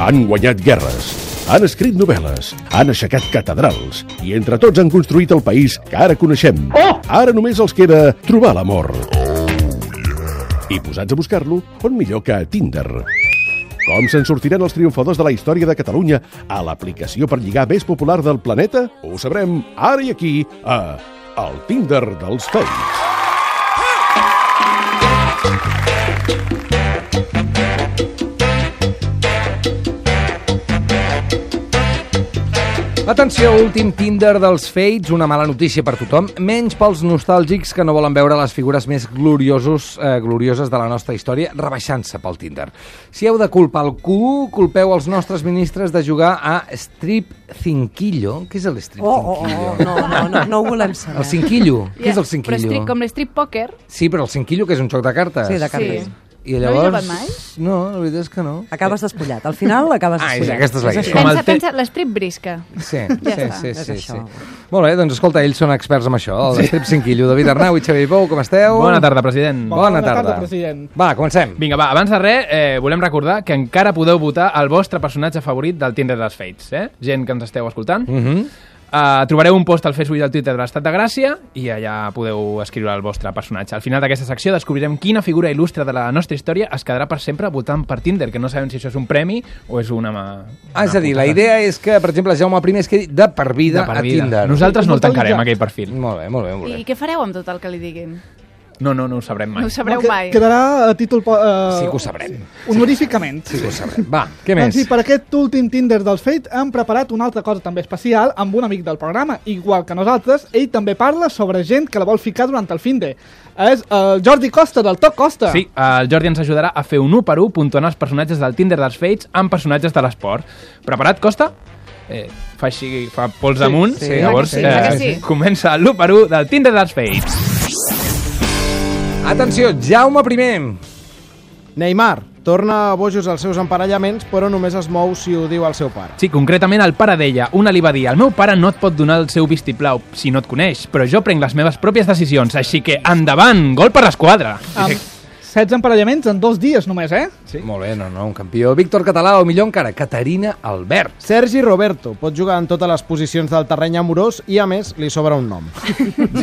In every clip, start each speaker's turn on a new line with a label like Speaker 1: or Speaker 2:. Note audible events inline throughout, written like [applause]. Speaker 1: Han guanyat guerres, han escrit novel·les, han aixecat catedrals i entre tots han construït el país que ara coneixem. Ara només els queda trobar l'amor. I posats a buscar-lo, on millor que a Tinder. Com se'n sortiran els triomfadors de la història de Catalunya a l'aplicació per lligar més popular del planeta? Ho sabrem ara i aquí a El Tinder dels Fakes.
Speaker 2: Atenció, últim Tinder dels Fates, una mala notícia per tothom, menys pels nostàlgics que no volen veure les figures més gloriosos, eh, glorioses de la nostra història rebaixant-se pel Tinder. Si heu de culpar algú, culpeu els nostres ministres de jugar a Strip Cinquillo. Què és el Strip
Speaker 3: Oh, oh,
Speaker 2: Cinquillo?
Speaker 3: oh, no, no, no, no ho volem saber.
Speaker 2: El cinquillo. Què és el
Speaker 4: Però
Speaker 2: cinquillo?
Speaker 4: strip, com l'strip poker,
Speaker 2: Sí, però el cinquillo, que és un joc de cartes.
Speaker 3: Sí, de cartes.
Speaker 4: Sí.
Speaker 2: I
Speaker 4: No he
Speaker 2: llavors...
Speaker 4: jugat mai?
Speaker 2: No, la veritat és que no.
Speaker 3: Acabes despullat. Al final acabes
Speaker 2: Ah, és,
Speaker 3: despullat.
Speaker 2: aquesta és la idea.
Speaker 4: pensa,
Speaker 5: el te-
Speaker 4: pensa, l'estrip brisca.
Speaker 2: Sí,
Speaker 4: Ja
Speaker 2: sí,
Speaker 4: està,
Speaker 2: sí,
Speaker 3: és
Speaker 2: sí, sí.
Speaker 3: això.
Speaker 2: Molt bé, doncs escolta, ells són experts en això, el Strip Cinquillo. David Arnau i Xavier Pou, com esteu?
Speaker 5: Bona tarda, president.
Speaker 2: Bona,
Speaker 6: Bona
Speaker 2: tarda.
Speaker 6: tarda, president.
Speaker 2: Va, comencem.
Speaker 5: Vinga, va, abans de res, eh, volem recordar que encara podeu votar el vostre personatge favorit del Tinder dels Fates, eh? Gent que ens esteu escoltant.
Speaker 2: Mhm.
Speaker 5: Mm -hmm. uh, trobareu un post al Facebook i al Twitter de l'Estat de Gràcia i allà podeu escriure el vostre personatge. Al final d'aquesta secció descobrirem quina figura il·lustre de la nostra història es quedarà per sempre votant per Tinder, que no sabem si això és un premi o és una... ma-
Speaker 2: Ah, és a dir, la
Speaker 5: putada.
Speaker 2: idea és que, per exemple, Jaume I es quedi de per vida,
Speaker 5: De per vida.
Speaker 2: a Tinder.
Speaker 5: Nosaltres no el tancarem, aquell perfil.
Speaker 2: Molt bé, molt bé, molt bé.
Speaker 4: I què fareu amb tot el que li diguin?
Speaker 5: No, no, no ho sabrem mai.
Speaker 4: No ho sabreu
Speaker 6: que-
Speaker 4: mai.
Speaker 6: Quedarà a títol... Eh,
Speaker 2: Sí que ho sabrem.
Speaker 6: Honoríficament.
Speaker 2: Sí que ho sabrem.
Speaker 5: [laughs]
Speaker 2: Va, què més?
Speaker 6: Doncs sí, per aquest últim Tinder del Fate hem preparat una altra cosa també especial amb un amic del programa. Igual que nosaltres, ell també parla sobre gent que la vol ficar durant el fin de. És el Jordi Costa, del Toc Costa.
Speaker 5: Sí, el Jordi ens ajudarà a fer un 1 per 1 puntuant els personatges del Tinder dels Fates amb personatges de l'esport. Preparat, Costa? Eh, fa així, fa pols sí, amunt,
Speaker 2: sí,
Speaker 5: llavors eh,
Speaker 2: sí,
Speaker 4: clar que sí.
Speaker 5: comença l'1 per 1 del Tinder dels Fates.
Speaker 2: Atenció, Jaume I.
Speaker 7: Neymar torna a bojos als seus emparellaments, però només es mou si ho diu el seu pare.
Speaker 5: Sí, concretament el pare d'ella. Una li va dir, el meu pare no et pot donar el seu vistiplau si no et coneix, però jo prenc les meves pròpies decisions, així que endavant, gol per l'esquadra.
Speaker 6: Amb
Speaker 5: Sí, sí.
Speaker 6: 16 emparellaments en dos dies només, eh? [laughs]
Speaker 2: Sí. Molt bé, no, no, un campió. Víctor Català, o millor encara, Caterina Albert.
Speaker 7: Sergi Roberto pot jugar en totes les posicions del terreny amorós i, a més, li sobra un nom.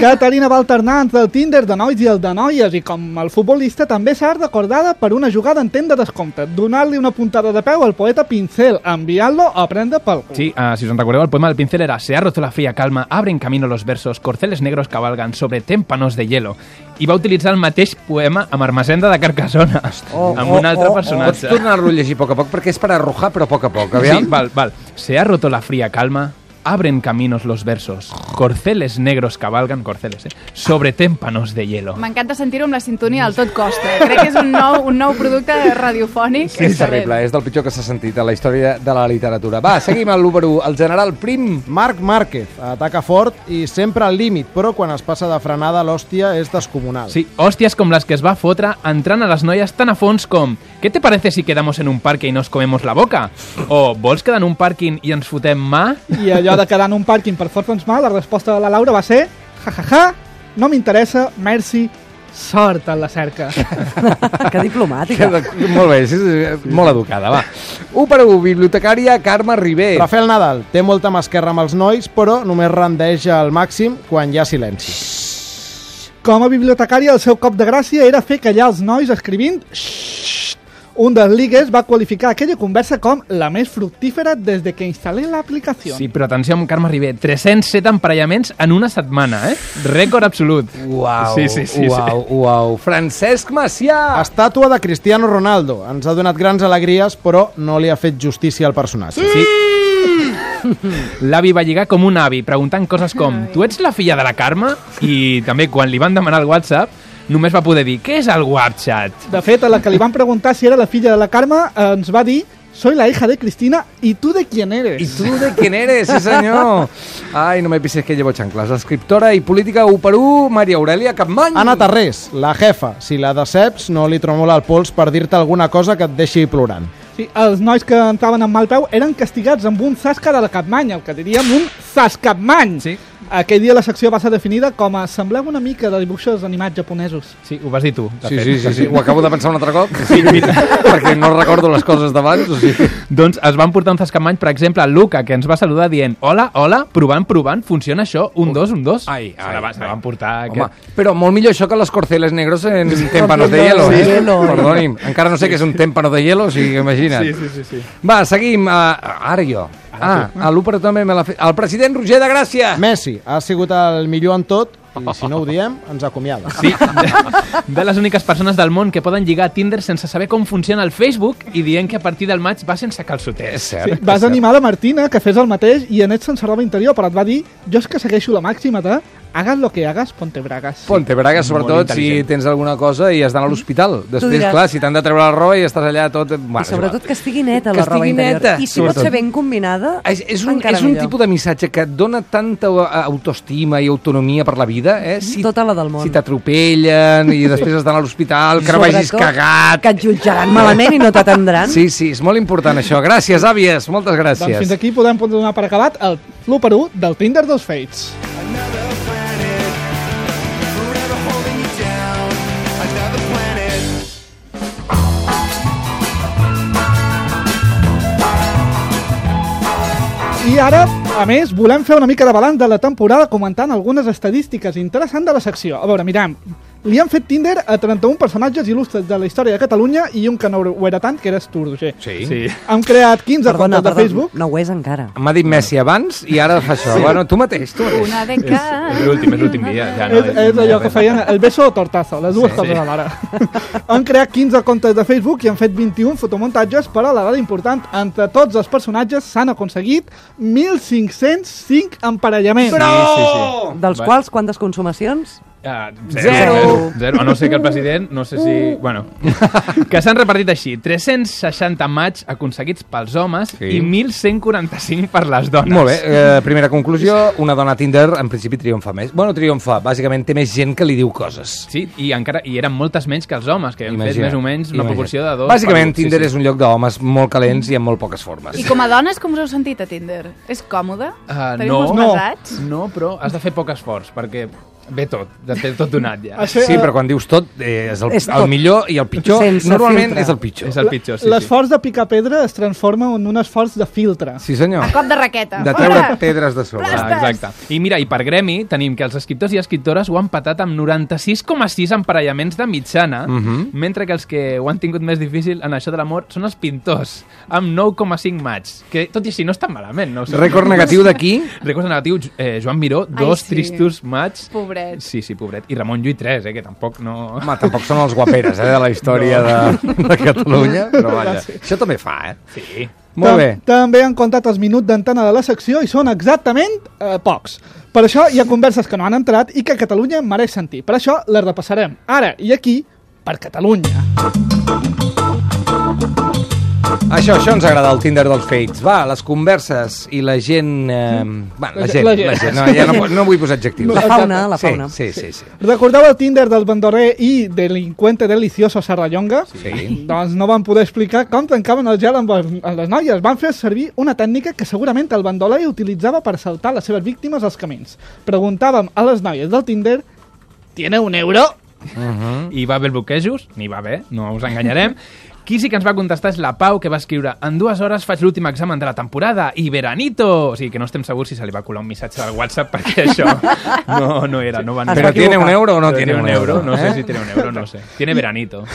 Speaker 6: Caterina va alternar entre el Tinder de nois i el de noies i com el futbolista també s'ha recordada per una jugada en temps de descompte, donar-li una puntada de peu al poeta Pincel, enviant-lo a prendre pel cul.
Speaker 5: Sí, ah, si os recordeu, el poema del pincel era Se ha roto la fría calma, abren camino los versos, corceles negros cabalgan sobre témpanos de hielo. I va utilitzar el mateix poema amb Armacenda de
Speaker 2: [laughs]
Speaker 5: Carcassona,
Speaker 2: Oh,
Speaker 5: amb un
Speaker 2: oh,
Speaker 5: altre
Speaker 2: oh, oh. Pots
Speaker 5: personatge.
Speaker 2: tornar-lo a llegir a poc a poc, perquè és per arrojar, però a poc a poc.
Speaker 5: sí,
Speaker 2: Aviam.
Speaker 5: val, val. Se ha roto la fría calma, abren caminos los versos, corceles negros cabalgan, corceles, eh, sobre témpanos de hielo.
Speaker 4: M'encanta sentir-ho amb la sintonia del tot costa. Crec que és un nou, un nou producte radiofònic.
Speaker 2: Sí, és terrible, és del pitjor que s'ha sentit a la història de la literatura. Va, seguim a l'1 El general Prim.
Speaker 7: Marc Márquez ataca fort i sempre al límit, però quan es passa de frenada l'hòstia és descomunal.
Speaker 5: Sí, hòsties com les que es va fotre entrant a les noies tan a fons com «Què te parece si quedamos en un parque y nos comemos la boca?» o «Vols quedar en un pàrquing i ens fotem mà?»
Speaker 6: I allò de quedar en un pàrquing per fer-nos mal, la resposta de la Laura va ser ja, ja, ja, no m'interessa, merci, sort en la cerca.
Speaker 3: Que diplomàtica.
Speaker 2: Que de- [laughs] Molt bé, sí, sí, sí, molt educada, va. 1 per 1, bibliotecària Carme Ribé.
Speaker 7: Rafael Nadal té molta mà esquerra amb els nois, però només rendeix al màxim quan hi ha silenci.
Speaker 6: Com a bibliotecària, el seu cop de gràcia era fer callar els nois escrivint "Xxxt". Un dels ligues va qualificar aquella conversa com la més fructífera des de que instal·lé l'aplicació.
Speaker 5: Sí, però atenció amb Carme Ribé, 307 emparellaments en una setmana, eh? Rècord absolut.
Speaker 2: Uau,
Speaker 5: Sí, sí, sí,
Speaker 2: uau, uau. Francesc Macià.
Speaker 7: Estàtua de Cristiano Ronaldo. Ens ha donat grans alegries, però no li ha fet justícia al personatge.
Speaker 5: Sí. L'avi va lligar com un avi, preguntant coses com «Tu ets la filla de la Carme?» i també quan li van demanar el WhatsApp només va poder dir «Què és el WhatsApp?».
Speaker 6: De fet, a la que li van preguntar si era la filla de la Carme, eh, ens va dir «Soy la hija de Cristina i tu de quién eres?».
Speaker 2: I tu de quién eres, sí senyor? Ai, no me pisses que llevo xancles. Escriptora i política 1 per 1, Maria Aurelia Capmany.
Speaker 7: Anna Tarrés, la jefa. Si la deceps, no li tremola el pols per dir-te alguna cosa que et deixi plorant.
Speaker 6: Sí, els nois que entraven amb mal peu eren castigats amb un zasca de la capmany, el que diríem un zascapmany.
Speaker 5: Sí.
Speaker 6: Aquell dia la secció va ser definida com a semblava una mica de dibuixos animats japonesos.
Speaker 5: Sí, ho vas dir tu. de
Speaker 2: Sí,
Speaker 5: fet.
Speaker 2: sí, sí, sí, ho acabo de pensar un altre cop, sí, mira, [laughs] perquè no recordo les coses d'abans, o sigui...
Speaker 5: [laughs] Doncs es van portar un zascamany, per exemple, el Luca, que ens va saludar dient hola, hola, provant, provant, funciona això, un, dos, un, dos.
Speaker 2: Ai,
Speaker 5: se la,
Speaker 2: ai,
Speaker 5: va, se la
Speaker 2: ai.
Speaker 5: van portar...
Speaker 2: Home,
Speaker 5: Aquest...
Speaker 2: però molt millor això que les corceles negros en témpanos de hielo, eh?
Speaker 3: De hielo.
Speaker 2: Perdoni'm, encara no sé què és un témpano de hielo, o sigui, imagina't.
Speaker 6: Sí, sí, sí. sí.
Speaker 2: Va, seguim. Uh, ara jo. Ah, a l'Òpera també me l'ha fet. El president Roger de Gràcia.
Speaker 7: Messi ha sigut el millor en tot i si no ho diem ens acomiada.
Speaker 5: Sí, de les úniques persones del món que poden lligar a Tinder sense saber com funciona el Facebook i dient que a partir del maig va sense
Speaker 2: És
Speaker 5: calçoters.
Speaker 2: cert.
Speaker 6: Vas animar la Martina que fes el mateix i anés sense roba interior, però et va dir jo és que segueixo la màxima de hagas lo que hagas, ponte bragas.
Speaker 2: Ponte Braga, sobretot, si
Speaker 5: intel·ligent.
Speaker 2: tens alguna cosa i has d'anar a l'hospital. Després,
Speaker 3: diràs.
Speaker 2: clar, si t'han de treure la roba i estàs allà tot... Bueno,
Speaker 3: I
Speaker 2: és
Speaker 3: sobretot
Speaker 2: igual.
Speaker 3: que estigui neta
Speaker 2: Que
Speaker 3: la roba
Speaker 2: estigui
Speaker 3: interior.
Speaker 2: neta,
Speaker 3: I si pot
Speaker 2: sobretot.
Speaker 3: ser ben combinada,
Speaker 2: És, és un,
Speaker 3: encara
Speaker 2: és un
Speaker 3: millor.
Speaker 2: tipus de missatge que et dona tanta au- autoestima i autonomia per la vida, eh? Si,
Speaker 3: Tota la del món.
Speaker 2: Si t'atropellen i després has d'anar a l'hospital, que no vagis
Speaker 3: Sobretot,
Speaker 2: cagat...
Speaker 3: Que et jutjaran malament i no t'atendran.
Speaker 2: Sí, sí, és molt important això. Gràcies, àvies, moltes gràcies.
Speaker 6: Doncs fins aquí podem donar per acabat el l'1 per 1 del Tinder dels Fates. I ara, a més, volem fer una mica de balanç de la temporada comentant algunes estadístiques interessants de la secció. A veure, miram, li han fet Tinder a 31 personatges il·lustres de la història de Catalunya i un que no ho era tant, que eres tu, Roger.
Speaker 2: Sí.
Speaker 5: Sí.
Speaker 6: Han creat 15
Speaker 3: Perdona,
Speaker 6: comptes de
Speaker 2: tota
Speaker 3: perdona,
Speaker 6: Facebook.
Speaker 3: no ho és encara.
Speaker 2: M'ha dit Messi abans i ara fa això. Sí. Bueno, tu mateix, tu mateix.
Speaker 4: Una de cada...
Speaker 5: És l'últim, és l'últim dia. Ja, Ah, no,
Speaker 6: és, és allò que feien el beso o tortazo, les dues
Speaker 5: Sí,
Speaker 6: sí,
Speaker 5: sí.
Speaker 6: coses alhora. [laughs] han creat 15 comptes de Facebook i han fet 21 fotomuntatges, però la dada important, entre tots els personatges s'han aconseguit 1.505 emparellaments.
Speaker 5: Bravo!
Speaker 3: Dels
Speaker 5: Va.
Speaker 3: quals, quantes consumacions?
Speaker 5: Ah,
Speaker 2: Zero.
Speaker 5: zero. zero. A no sé que el president, no sé si...
Speaker 6: Uh.
Speaker 5: Bueno, [laughs] que s'han repartit així. 360 maig aconseguits pels homes
Speaker 2: Sí.
Speaker 5: i 1.145 per les dones.
Speaker 2: Molt bé, eh, primera conclusió, una dona a Tinder en principi triomfa més. Bueno, triomfa, bàsicament té més gent que li diu coses.
Speaker 5: Sí, i encara i eren moltes menys que els homes, que hem fet
Speaker 2: Imagina't,
Speaker 5: més o menys una
Speaker 2: imagina't.
Speaker 5: proporció de dos.
Speaker 2: Bàsicament, Tinder és un lloc d'homes molt calents i amb molt poques formes.
Speaker 4: I com a dones, com us heu sentit a Tinder? És còmode?
Speaker 5: Uh,
Speaker 4: Teniu
Speaker 5: no,
Speaker 4: molts
Speaker 5: no,
Speaker 4: pesats?
Speaker 5: no, però has de fer poc esforç, perquè ve tot, de té tot donat
Speaker 4: [laughs]
Speaker 5: ja.
Speaker 6: Això-
Speaker 2: Sí, però quan dius tot, eh, és el,
Speaker 3: És tot.
Speaker 2: el millor i el pitjor.
Speaker 3: Sense
Speaker 2: Normalment
Speaker 3: filtre.
Speaker 2: és el pitjor.
Speaker 5: És el pitjor, sí, sí.
Speaker 6: L'esforç de picar pedra es transforma en un esforç de filtre.
Speaker 2: Sí, senyor.
Speaker 4: A cop de raqueta.
Speaker 2: De treure
Speaker 4: Hola!
Speaker 2: pedres de sobre.
Speaker 5: Ah, exacte. I mira, i per gremi tenim que els escriptors i escriptores ho han patat amb 96,6 emparellaments de mitjana,
Speaker 2: Mhm.
Speaker 5: mentre que els que ho han tingut més difícil en això de l'amor són els pintors, amb 9,5 maig, que tot i així no estan malament. No?
Speaker 2: Rècord negatiu d'aquí.
Speaker 5: Rècords negatius, eh, Joan Miró, dos
Speaker 4: sí.
Speaker 5: tristos maig.
Speaker 4: Pobret.
Speaker 5: Sí, sí, pobret. I Ramon Llull, tres, eh, que tampoc no...
Speaker 2: Home, tampoc són els guaperes, eh, de la història de, de Catalunya, però vaja. Això també fa, eh?
Speaker 5: Sí.
Speaker 2: Molt bé.
Speaker 6: Tam- També han comptat els minuts d'antena de la secció i són exactament eh, pocs. Per això hi ha converses que no han entrat i que Catalunya mereix sentir. Per això les repassarem ara i aquí per Catalunya.
Speaker 2: Això, això ens agrada, el Tinder dels Fates. Va, les converses i la gent... Eh,
Speaker 3: Mm.
Speaker 2: bueno, la gent, la
Speaker 6: La
Speaker 2: gent.
Speaker 6: gent.
Speaker 2: La gent. No, ja no, pu- no vull posar adjectius.
Speaker 3: La fauna, la
Speaker 2: sí,
Speaker 3: fauna.
Speaker 2: Sí, sí, sí.
Speaker 6: Recordeu el Tinder del bandorrer i delincuente delicioso Serrallonga?
Speaker 2: Sí.
Speaker 6: Doncs no van poder explicar com trencaven el gel amb, el- amb les noies. Van fer servir una tècnica que segurament el bandoler utilitzava per saltar les seves víctimes als camins. Preguntàvem a les noies del Tinder ¿Tiene un euro?
Speaker 5: hi va haver bloquejos, n'hi va haver, no
Speaker 2: [laughs]
Speaker 5: us enganyarem. Qui sí que ens va contestar és la Pau, que va escriure En dues hores faig l'últim examen de la temporada i veranito! O sigui que no estem segurs si se li va colar un missatge del WhatsApp perquè
Speaker 2: [laughs]
Speaker 5: això no, no era, no van...
Speaker 3: Es
Speaker 2: Però
Speaker 3: va
Speaker 2: tiene un
Speaker 3: equivocar.
Speaker 2: euro o no
Speaker 5: Però
Speaker 2: tiene un euro?
Speaker 5: No sé
Speaker 2: eh?
Speaker 5: si tiene un euro, no sé. Tiene veranito.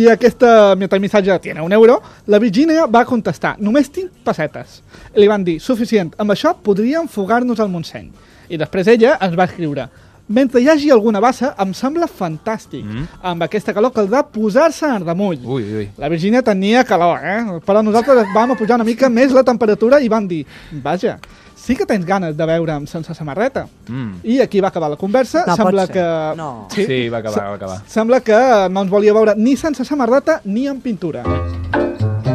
Speaker 6: I aquesta meta missatge tiene un euro, la Virginia va contestar, només tinc pessetes. Li van dir, suficient, amb això podríem fugar-nos al Montseny. I després ella ens va escriure, mentre hi hagi alguna bassa, em sembla fantàstic. Mm. Amb aquesta calor caldrà posar-se en remull.
Speaker 5: Ui, ui.
Speaker 6: La Virgínia tenia calor, eh? Però nosaltres vam pujar una mica més la temperatura i vam dir, vaja, sí que tens ganes de veure'm sense samarreta.
Speaker 5: Mm.
Speaker 6: I aquí va acabar la conversa.
Speaker 3: No pot
Speaker 6: Sembla
Speaker 3: ser.
Speaker 6: que...
Speaker 3: No.
Speaker 5: Sí, va acabar, va acabar.
Speaker 6: Sembla que no ens volia veure ni sense samarreta ni en pintura.
Speaker 5: I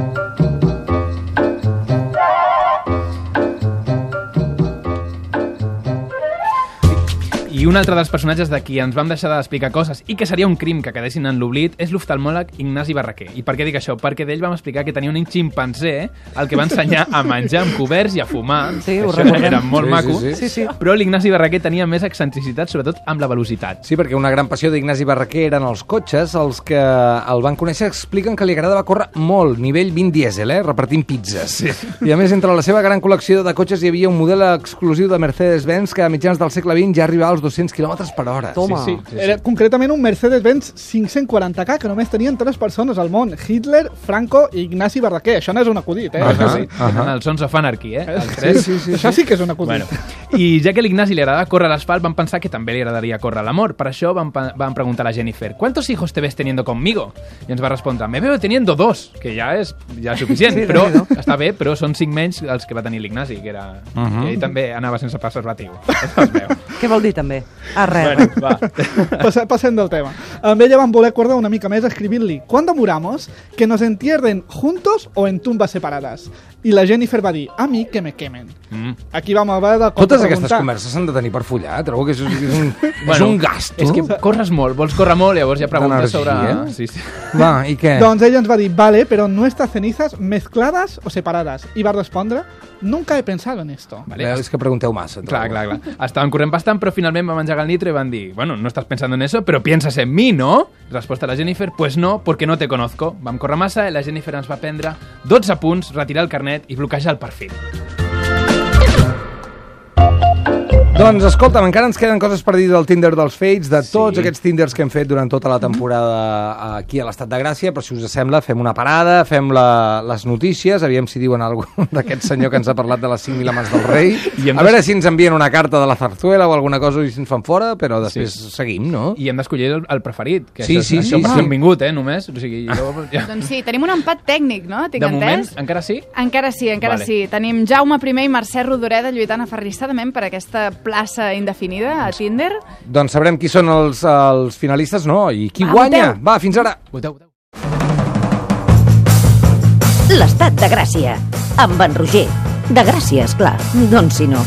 Speaker 5: I un altre dels personatges de qui ens vam deixar d'explicar coses i que seria un crim que quedessin en l'oblit és l'oftalmòleg Ignasi Barraquer. I per què dic això? Perquè d'ell vam explicar que tenia un ximpanzé el que va ensenyar a menjar amb coberts i a fumar.
Speaker 3: Sí, ho
Speaker 5: Això
Speaker 3: recordem.
Speaker 5: Era
Speaker 2: Sí,
Speaker 5: molt
Speaker 2: sí,
Speaker 5: maco.
Speaker 2: sí.
Speaker 3: Sí, sí.
Speaker 5: Però l'Ignasi Barraquer tenia més excentricitat, sobretot amb la velocitat.
Speaker 2: Sí, perquè una gran passió d'Ignasi Barraquer eren els cotxes. Els que el van conèixer expliquen que li agradava córrer molt, nivell 20 dièsel, eh? repartint pizzas. Sí. I a més, entre la seva gran col·lecció de cotxes hi havia un model exclusiu de Mercedes-Benz que a mitjans del segle XX ja arribava als 200 km per hora.
Speaker 3: Toma.
Speaker 2: Sí, sí.
Speaker 6: Era concretament un Mercedes-Benz 540K que només tenien tres persones al món, Hitler, Franco i Ignasi Barraquer. Això no és un acudit, eh? Això sí.
Speaker 5: Uh -huh. Els Sons of Anarchy, eh? Els tres.
Speaker 6: sí, sí, Això sí que és un
Speaker 5: [laughs]
Speaker 6: acudit.
Speaker 5: Bueno, I ja que a l'Ignasi li agradava córrer a l'asfalt, van pensar que també li agradaria córrer a l'amor. Per això van, pe- van preguntar a la Jennifer, ¿cuántos hijos te ves teniendo conmigo? I ens va respondre, me veo teniendo dos, que ja és ja és suficient,
Speaker 3: Sí,
Speaker 5: però
Speaker 3: Déu-n'hi-do.
Speaker 5: està bé, però són cinc menys els que va tenir l'Ignasi, que era... Uh -huh. que ell també anava sense preservatiu. [laughs] Això es veu.
Speaker 3: Què vol dir, també? Ah, res.
Speaker 5: bueno,
Speaker 3: res.
Speaker 5: va.
Speaker 6: Passa- Passem del tema. Amb ella van voler acordar una mica més escrivint-li «Cuándo muramos? Que nos entierren juntos o en tumbas separadas?» I la Jennifer va dir «A mi que me quemen».
Speaker 5: Mm.
Speaker 6: Aquí vam haver de
Speaker 2: Totes aquestes
Speaker 6: contrapreguntar.
Speaker 2: converses s'han de tenir per follar. eh? Trobo que és, és, un, és
Speaker 5: Bueno,
Speaker 2: un gast.
Speaker 5: És que corres molt, vols córrer molt, llavors ja preguntes sobre...
Speaker 2: D'energia.
Speaker 5: Sí, sí.
Speaker 2: Va, i què?
Speaker 6: Doncs ella ens va dir «Vale, pero nuestras cenizas mezcladas o separadas?» I va respondre «Nunca he pensado en esto».
Speaker 2: Vale. És que pregunteu massa. trobo.
Speaker 5: Clar, clar, clar. Estaven corrent bastant, però finalment van engegar el nitro i van dir «Bueno, no estàs pensando en eso, però piensas en mi, ¿no?». Resposta a la Jennifer «Pues no, porque no te conozco». Vam córrer massa i la Jennifer ens va prendre 12 punts, retirar el carnet i bloquejar el perfil.
Speaker 2: Doncs escolta'm, encara ens queden coses per dir del Tinder dels Fates, de tots
Speaker 5: Sí.
Speaker 2: aquests Tinders que hem fet durant tota la temporada aquí a l'Estat de Gràcia, però si us sembla fem una parada, fem la, les notícies, aviam si diuen alguna d'aquest senyor que ens ha parlat de les 5.000 amants del rei,
Speaker 5: I hem
Speaker 2: a veure si ens envien una carta de la zarzuela o alguna cosa i si ens fan fora, però després sí. seguim, no?
Speaker 5: I hem d'escollir el, el preferit, que
Speaker 2: Sí,
Speaker 5: això,
Speaker 2: sí,
Speaker 5: això
Speaker 2: sí,
Speaker 5: per
Speaker 2: sí.
Speaker 5: ser benvingut, eh, només. O sigui, jo, ja,
Speaker 4: Doncs sí, tenim un empat tècnic, no? Tinc
Speaker 5: de moment,
Speaker 4: entès?
Speaker 5: encara sí?
Speaker 4: Encara sí, encara
Speaker 5: Vale.
Speaker 4: vale. sí. Tenim Jaume I i Mercè Rodoreda lluitant aferrissadament per aquesta plaça indefinida a Tinder.
Speaker 2: Doncs sabrem qui són els, els finalistes, no? I qui
Speaker 4: Va,
Speaker 2: guanya?
Speaker 4: voteu.
Speaker 2: Va, fins ara!
Speaker 5: Voteu, voteu.
Speaker 8: L'estat de Gràcia. Amb en Roger. De Gràcia, esclar. Doncs si no.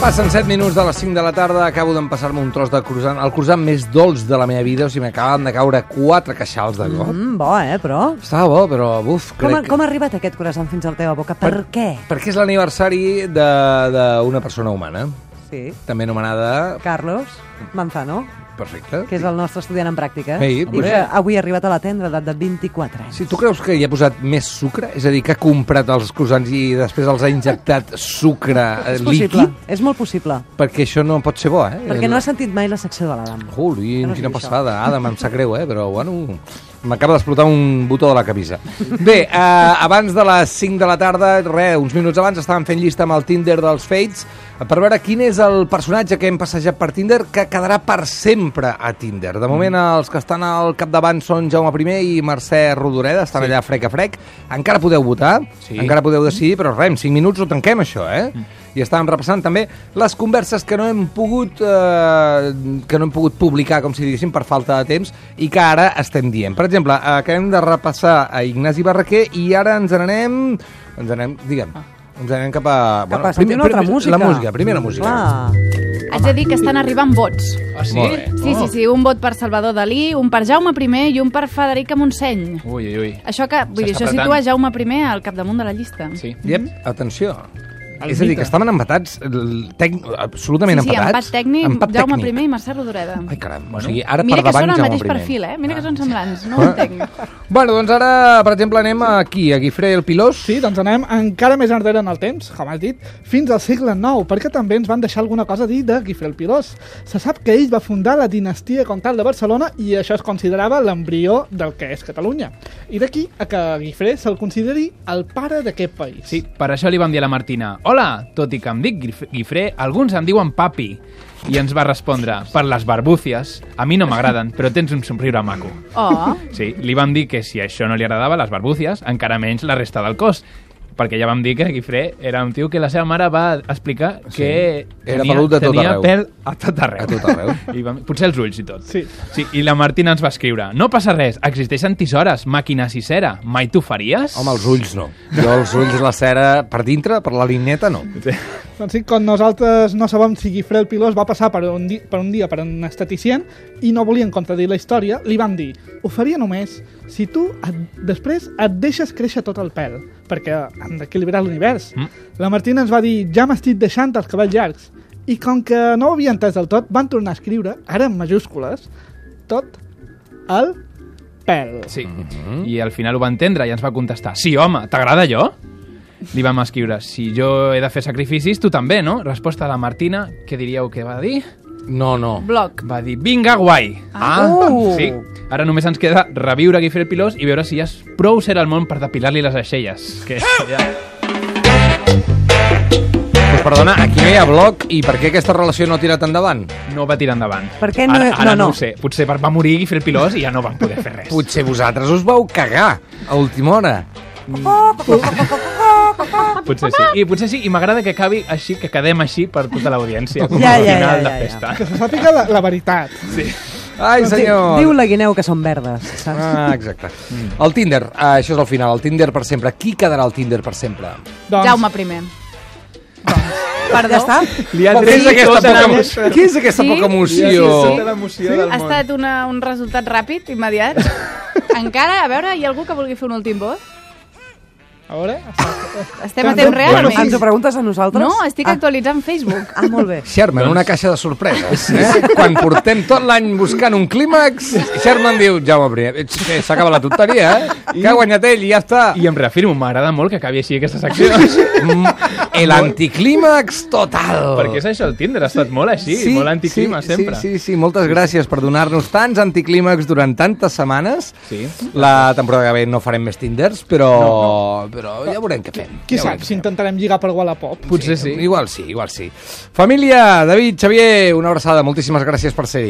Speaker 2: Passen 7 minuts de les 5 de la tarda, acabo d'empassar-me un tros de croissant, el croissant més dolç de la meva vida, o sigui, m'acaben de caure 4 queixals de cop.
Speaker 3: Mm, bo, eh, però...
Speaker 2: Estava bo, però buf,
Speaker 3: Com,
Speaker 2: crec
Speaker 3: ha, com ha arribat aquest croissant fins a la teva boca? Per, què?
Speaker 2: que... Perquè és l'aniversari de- d'una persona humana,
Speaker 3: Sí.
Speaker 2: també anomenada...
Speaker 3: Carlos Manzano,
Speaker 2: Perfecte.
Speaker 3: que és el nostre estudiant en pràctica,
Speaker 2: Ei,
Speaker 3: i
Speaker 2: hombre.
Speaker 3: que avui ha arribat a la tendra edat de 24 anys.
Speaker 2: Si tu creus que hi ha posat més sucre, és a dir, que ha comprat els croissants i després els ha injectat sucre eh,
Speaker 3: és possible,
Speaker 2: líquid,
Speaker 3: és molt possible.
Speaker 2: perquè això no pot ser bo, eh?
Speaker 3: Perquè no has sentit mai la secció de l'Adam.
Speaker 2: Ui,
Speaker 3: Que
Speaker 2: quina
Speaker 3: no sigui això.
Speaker 2: passada. Adam, em sap greu, eh? però bueno... M'acaba d'explotar un botó de la camisa. Bé, eh, abans de les 5 de la tarda, re, uns minuts abans, estàvem fent llista amb el Tinder dels Fates per veure quin és el personatge que hem passejat per Tinder que quedarà per sempre a Tinder. De moment, els que estan al capdavant són Jaume I i Mercè Rodoreda, estan allà frec a frec. Encara podeu votar,
Speaker 5: Sí.
Speaker 2: encara encara podeu decidir, però res, en 5 minuts ho tanquem, això, eh? I estàvem repassant també les converses que no hem pogut, eh, que no hem pogut publicar, com si diguéssim, per falta de temps, i que ara estem dient. Per exemple, eh, acabem de repassar a Ignasi Barraquer i ara ens n'anem... Ens n'anem, diguem,
Speaker 4: Ah.
Speaker 2: ens n'anem cap a...
Speaker 3: Cap a sentir una altra música.
Speaker 2: La música,
Speaker 4: Mm,
Speaker 2: primera música.
Speaker 3: Clar.
Speaker 4: Haig de dir que estan arribant vots.
Speaker 5: Ah, sí?
Speaker 2: Molt bé.
Speaker 4: Sí, sí, sí, un vot per Salvador Dalí, un per Jaume I i un per Federica Montseny.
Speaker 5: Oh. Ui, ui, ui.
Speaker 4: Això que, vull dir,
Speaker 5: S'està
Speaker 4: això
Speaker 5: apretant.
Speaker 4: situa Jaume I al capdamunt de la llista.
Speaker 5: Sí.
Speaker 2: Yep, atenció. és a dir, que estaven empatats, el tec... absolutament
Speaker 4: sí, sí,
Speaker 2: empatats.
Speaker 4: empat tècnic,
Speaker 2: Empat
Speaker 4: Jaume
Speaker 2: tècnic.
Speaker 4: I i Mercè Rodoreda.
Speaker 2: Ai, caram, o sigui, ara
Speaker 4: Mira
Speaker 2: per
Speaker 4: que són
Speaker 2: davant
Speaker 4: el
Speaker 2: Jaume
Speaker 4: mateix
Speaker 2: I.
Speaker 4: perfil, eh? Mira que són semblants, no
Speaker 2: Ah.
Speaker 4: ho entenc.
Speaker 2: Bueno, doncs ara, per exemple, anem aquí, a Guifré el Pilós.
Speaker 6: Sí, doncs anem encara més enrere en el temps, com has dit, fins al segle IX, perquè també ens van deixar alguna cosa a dir de Guifré el Pilós. Se sap que ell va fundar la dinastia comtal de Barcelona i això es considerava l'embrió del que és Catalunya. I d'aquí a que Guifré se'l consideri el pare d'aquest país.
Speaker 5: Sí, per això li vam dir a la Martina Hola, tot i que em dic Guif- Guifré, alguns em diuen papi. I ens va respondre, per les barbúcies, a mi no m'agraden, però tens un somriure maco.
Speaker 4: Oh,
Speaker 5: Sí, li vam dir que si això no li agradava, les barbúcies, encara menys la resta del cos. perquè ja vam dir que Guifré era un tio que la seva mare va explicar
Speaker 2: Sí.
Speaker 5: que
Speaker 2: Era
Speaker 5: tenia,
Speaker 2: pelut de tot
Speaker 5: tenia
Speaker 2: arreu.
Speaker 5: pèl a tot arreu.
Speaker 2: A tot arreu.
Speaker 5: I vam, potser els ulls i tot.
Speaker 6: Sí.
Speaker 5: sí. I la Martina ens va escriure No passa res, existeixen tisores, màquina cissera. Mai t'ho faries?
Speaker 2: Home, els ulls no. Jo els ulls, la cera, per dintre, per la lineta, no.
Speaker 6: Doncs sí, quan nosaltres no sabem si Guifré el Pilós va passar per un, di per un dia per un esteticient i no volien contradir la història, li van dir ho faria només si tu et, després et deixes créixer tot el pèl, perquè hem d'equilibrar l'univers. Mm. La Martina ens va dir ja m'estic deixant els cabells llargs i com que no ho havia entès del tot, van tornar a escriure, ara en majúscules, tot el pèl.
Speaker 5: Sí. I al final ho va entendre i ens va contestar Sí, home, t'agrada allò? Li vam escriure Si jo he de fer sacrificis, tu també, no? Resposta de la Martina Què diríeu que va dir?
Speaker 2: No, no.
Speaker 4: Bloc.
Speaker 5: Va dir, vinga, guai! Ah,
Speaker 3: Uh!
Speaker 5: sí. Ara només ens queda reviure Guifré el Pilós i veure si ja és prou ser al món per depilar-li les aixelles. Que
Speaker 3: Ah!
Speaker 5: ja...
Speaker 2: Pues perdona, aquí no hi ha bloc i per què aquesta relació no ha tirat endavant?
Speaker 5: no va tirar endavant.
Speaker 3: Per què no-
Speaker 5: Ara, ara
Speaker 3: no, no.
Speaker 5: no, ho sé. Potser va va morir Guifré el Pilós i ja no van poder fer res.
Speaker 2: Potser vosaltres us vau cagar a última hora.
Speaker 3: Ah,
Speaker 5: Potser sí. I potser sí, i m'agrada que acabi així, que quedem així per tota l'audiència. Com
Speaker 3: Ja,
Speaker 5: al
Speaker 3: ja,
Speaker 5: final
Speaker 3: ja,
Speaker 5: de
Speaker 3: ja, ja.
Speaker 5: festa.
Speaker 6: Que se sàpiga la, la veritat.
Speaker 2: Ai, senyor!
Speaker 3: Diu la guineu que són verdes, saps?
Speaker 2: Ah, exacte. El Tinder, ah, això és el final, el Tinder per sempre. Qui quedarà al Tinder per sempre?
Speaker 6: Doncs,
Speaker 4: Jaume primer. Perdó.
Speaker 3: Ja està?
Speaker 5: Li ha
Speaker 2: Què és aquesta
Speaker 5: tota
Speaker 2: poca,
Speaker 5: la
Speaker 2: emo-
Speaker 5: lletra.
Speaker 2: què és aquesta
Speaker 4: Sí?
Speaker 2: poca emoció?
Speaker 4: Sí, sí, sí.
Speaker 5: l'emoció
Speaker 4: Ha estat una, un resultat ràpid, immediat. Encara, a veure, hi ha algú que vulgui fer un últim vot?
Speaker 6: A veure,
Speaker 4: Estem a temps real
Speaker 3: Bueno,
Speaker 4: o
Speaker 3: ens ho
Speaker 4: més?
Speaker 3: preguntes a nosaltres?
Speaker 4: No, estic
Speaker 3: ah,
Speaker 4: actualitzant Facebook.
Speaker 3: ah, molt bé.
Speaker 2: Sherman, una caixa de sorpreses. Eh? Quan portem tot l'any buscant un clímax, Sherman diu, Jaume primer, eh, s'acaba la tonteria, eh? Que ha guanyat ell i ja està.
Speaker 5: I em reafirmo, m'agrada molt que acabi així aquesta secció.
Speaker 2: Mm, El anticlímax total.
Speaker 5: Perquè és això, el Tinder ha estat molt així, molt anticlima,
Speaker 2: sí,
Speaker 5: sempre.
Speaker 2: Sí, sí, sí, moltes gràcies per donar-nos tants anticlímax durant tantes setmanes.
Speaker 5: Sí.
Speaker 2: La temporada que ve no farem més Tinders, però, però ja veurem què fem.
Speaker 6: qui
Speaker 2: ja
Speaker 6: sap si intentarem lligar per Wallapop.
Speaker 5: Potser sí.
Speaker 2: Igual sí, igual sí. Família, David, Xavier, una abraçada, moltíssimes gràcies per ser-hi.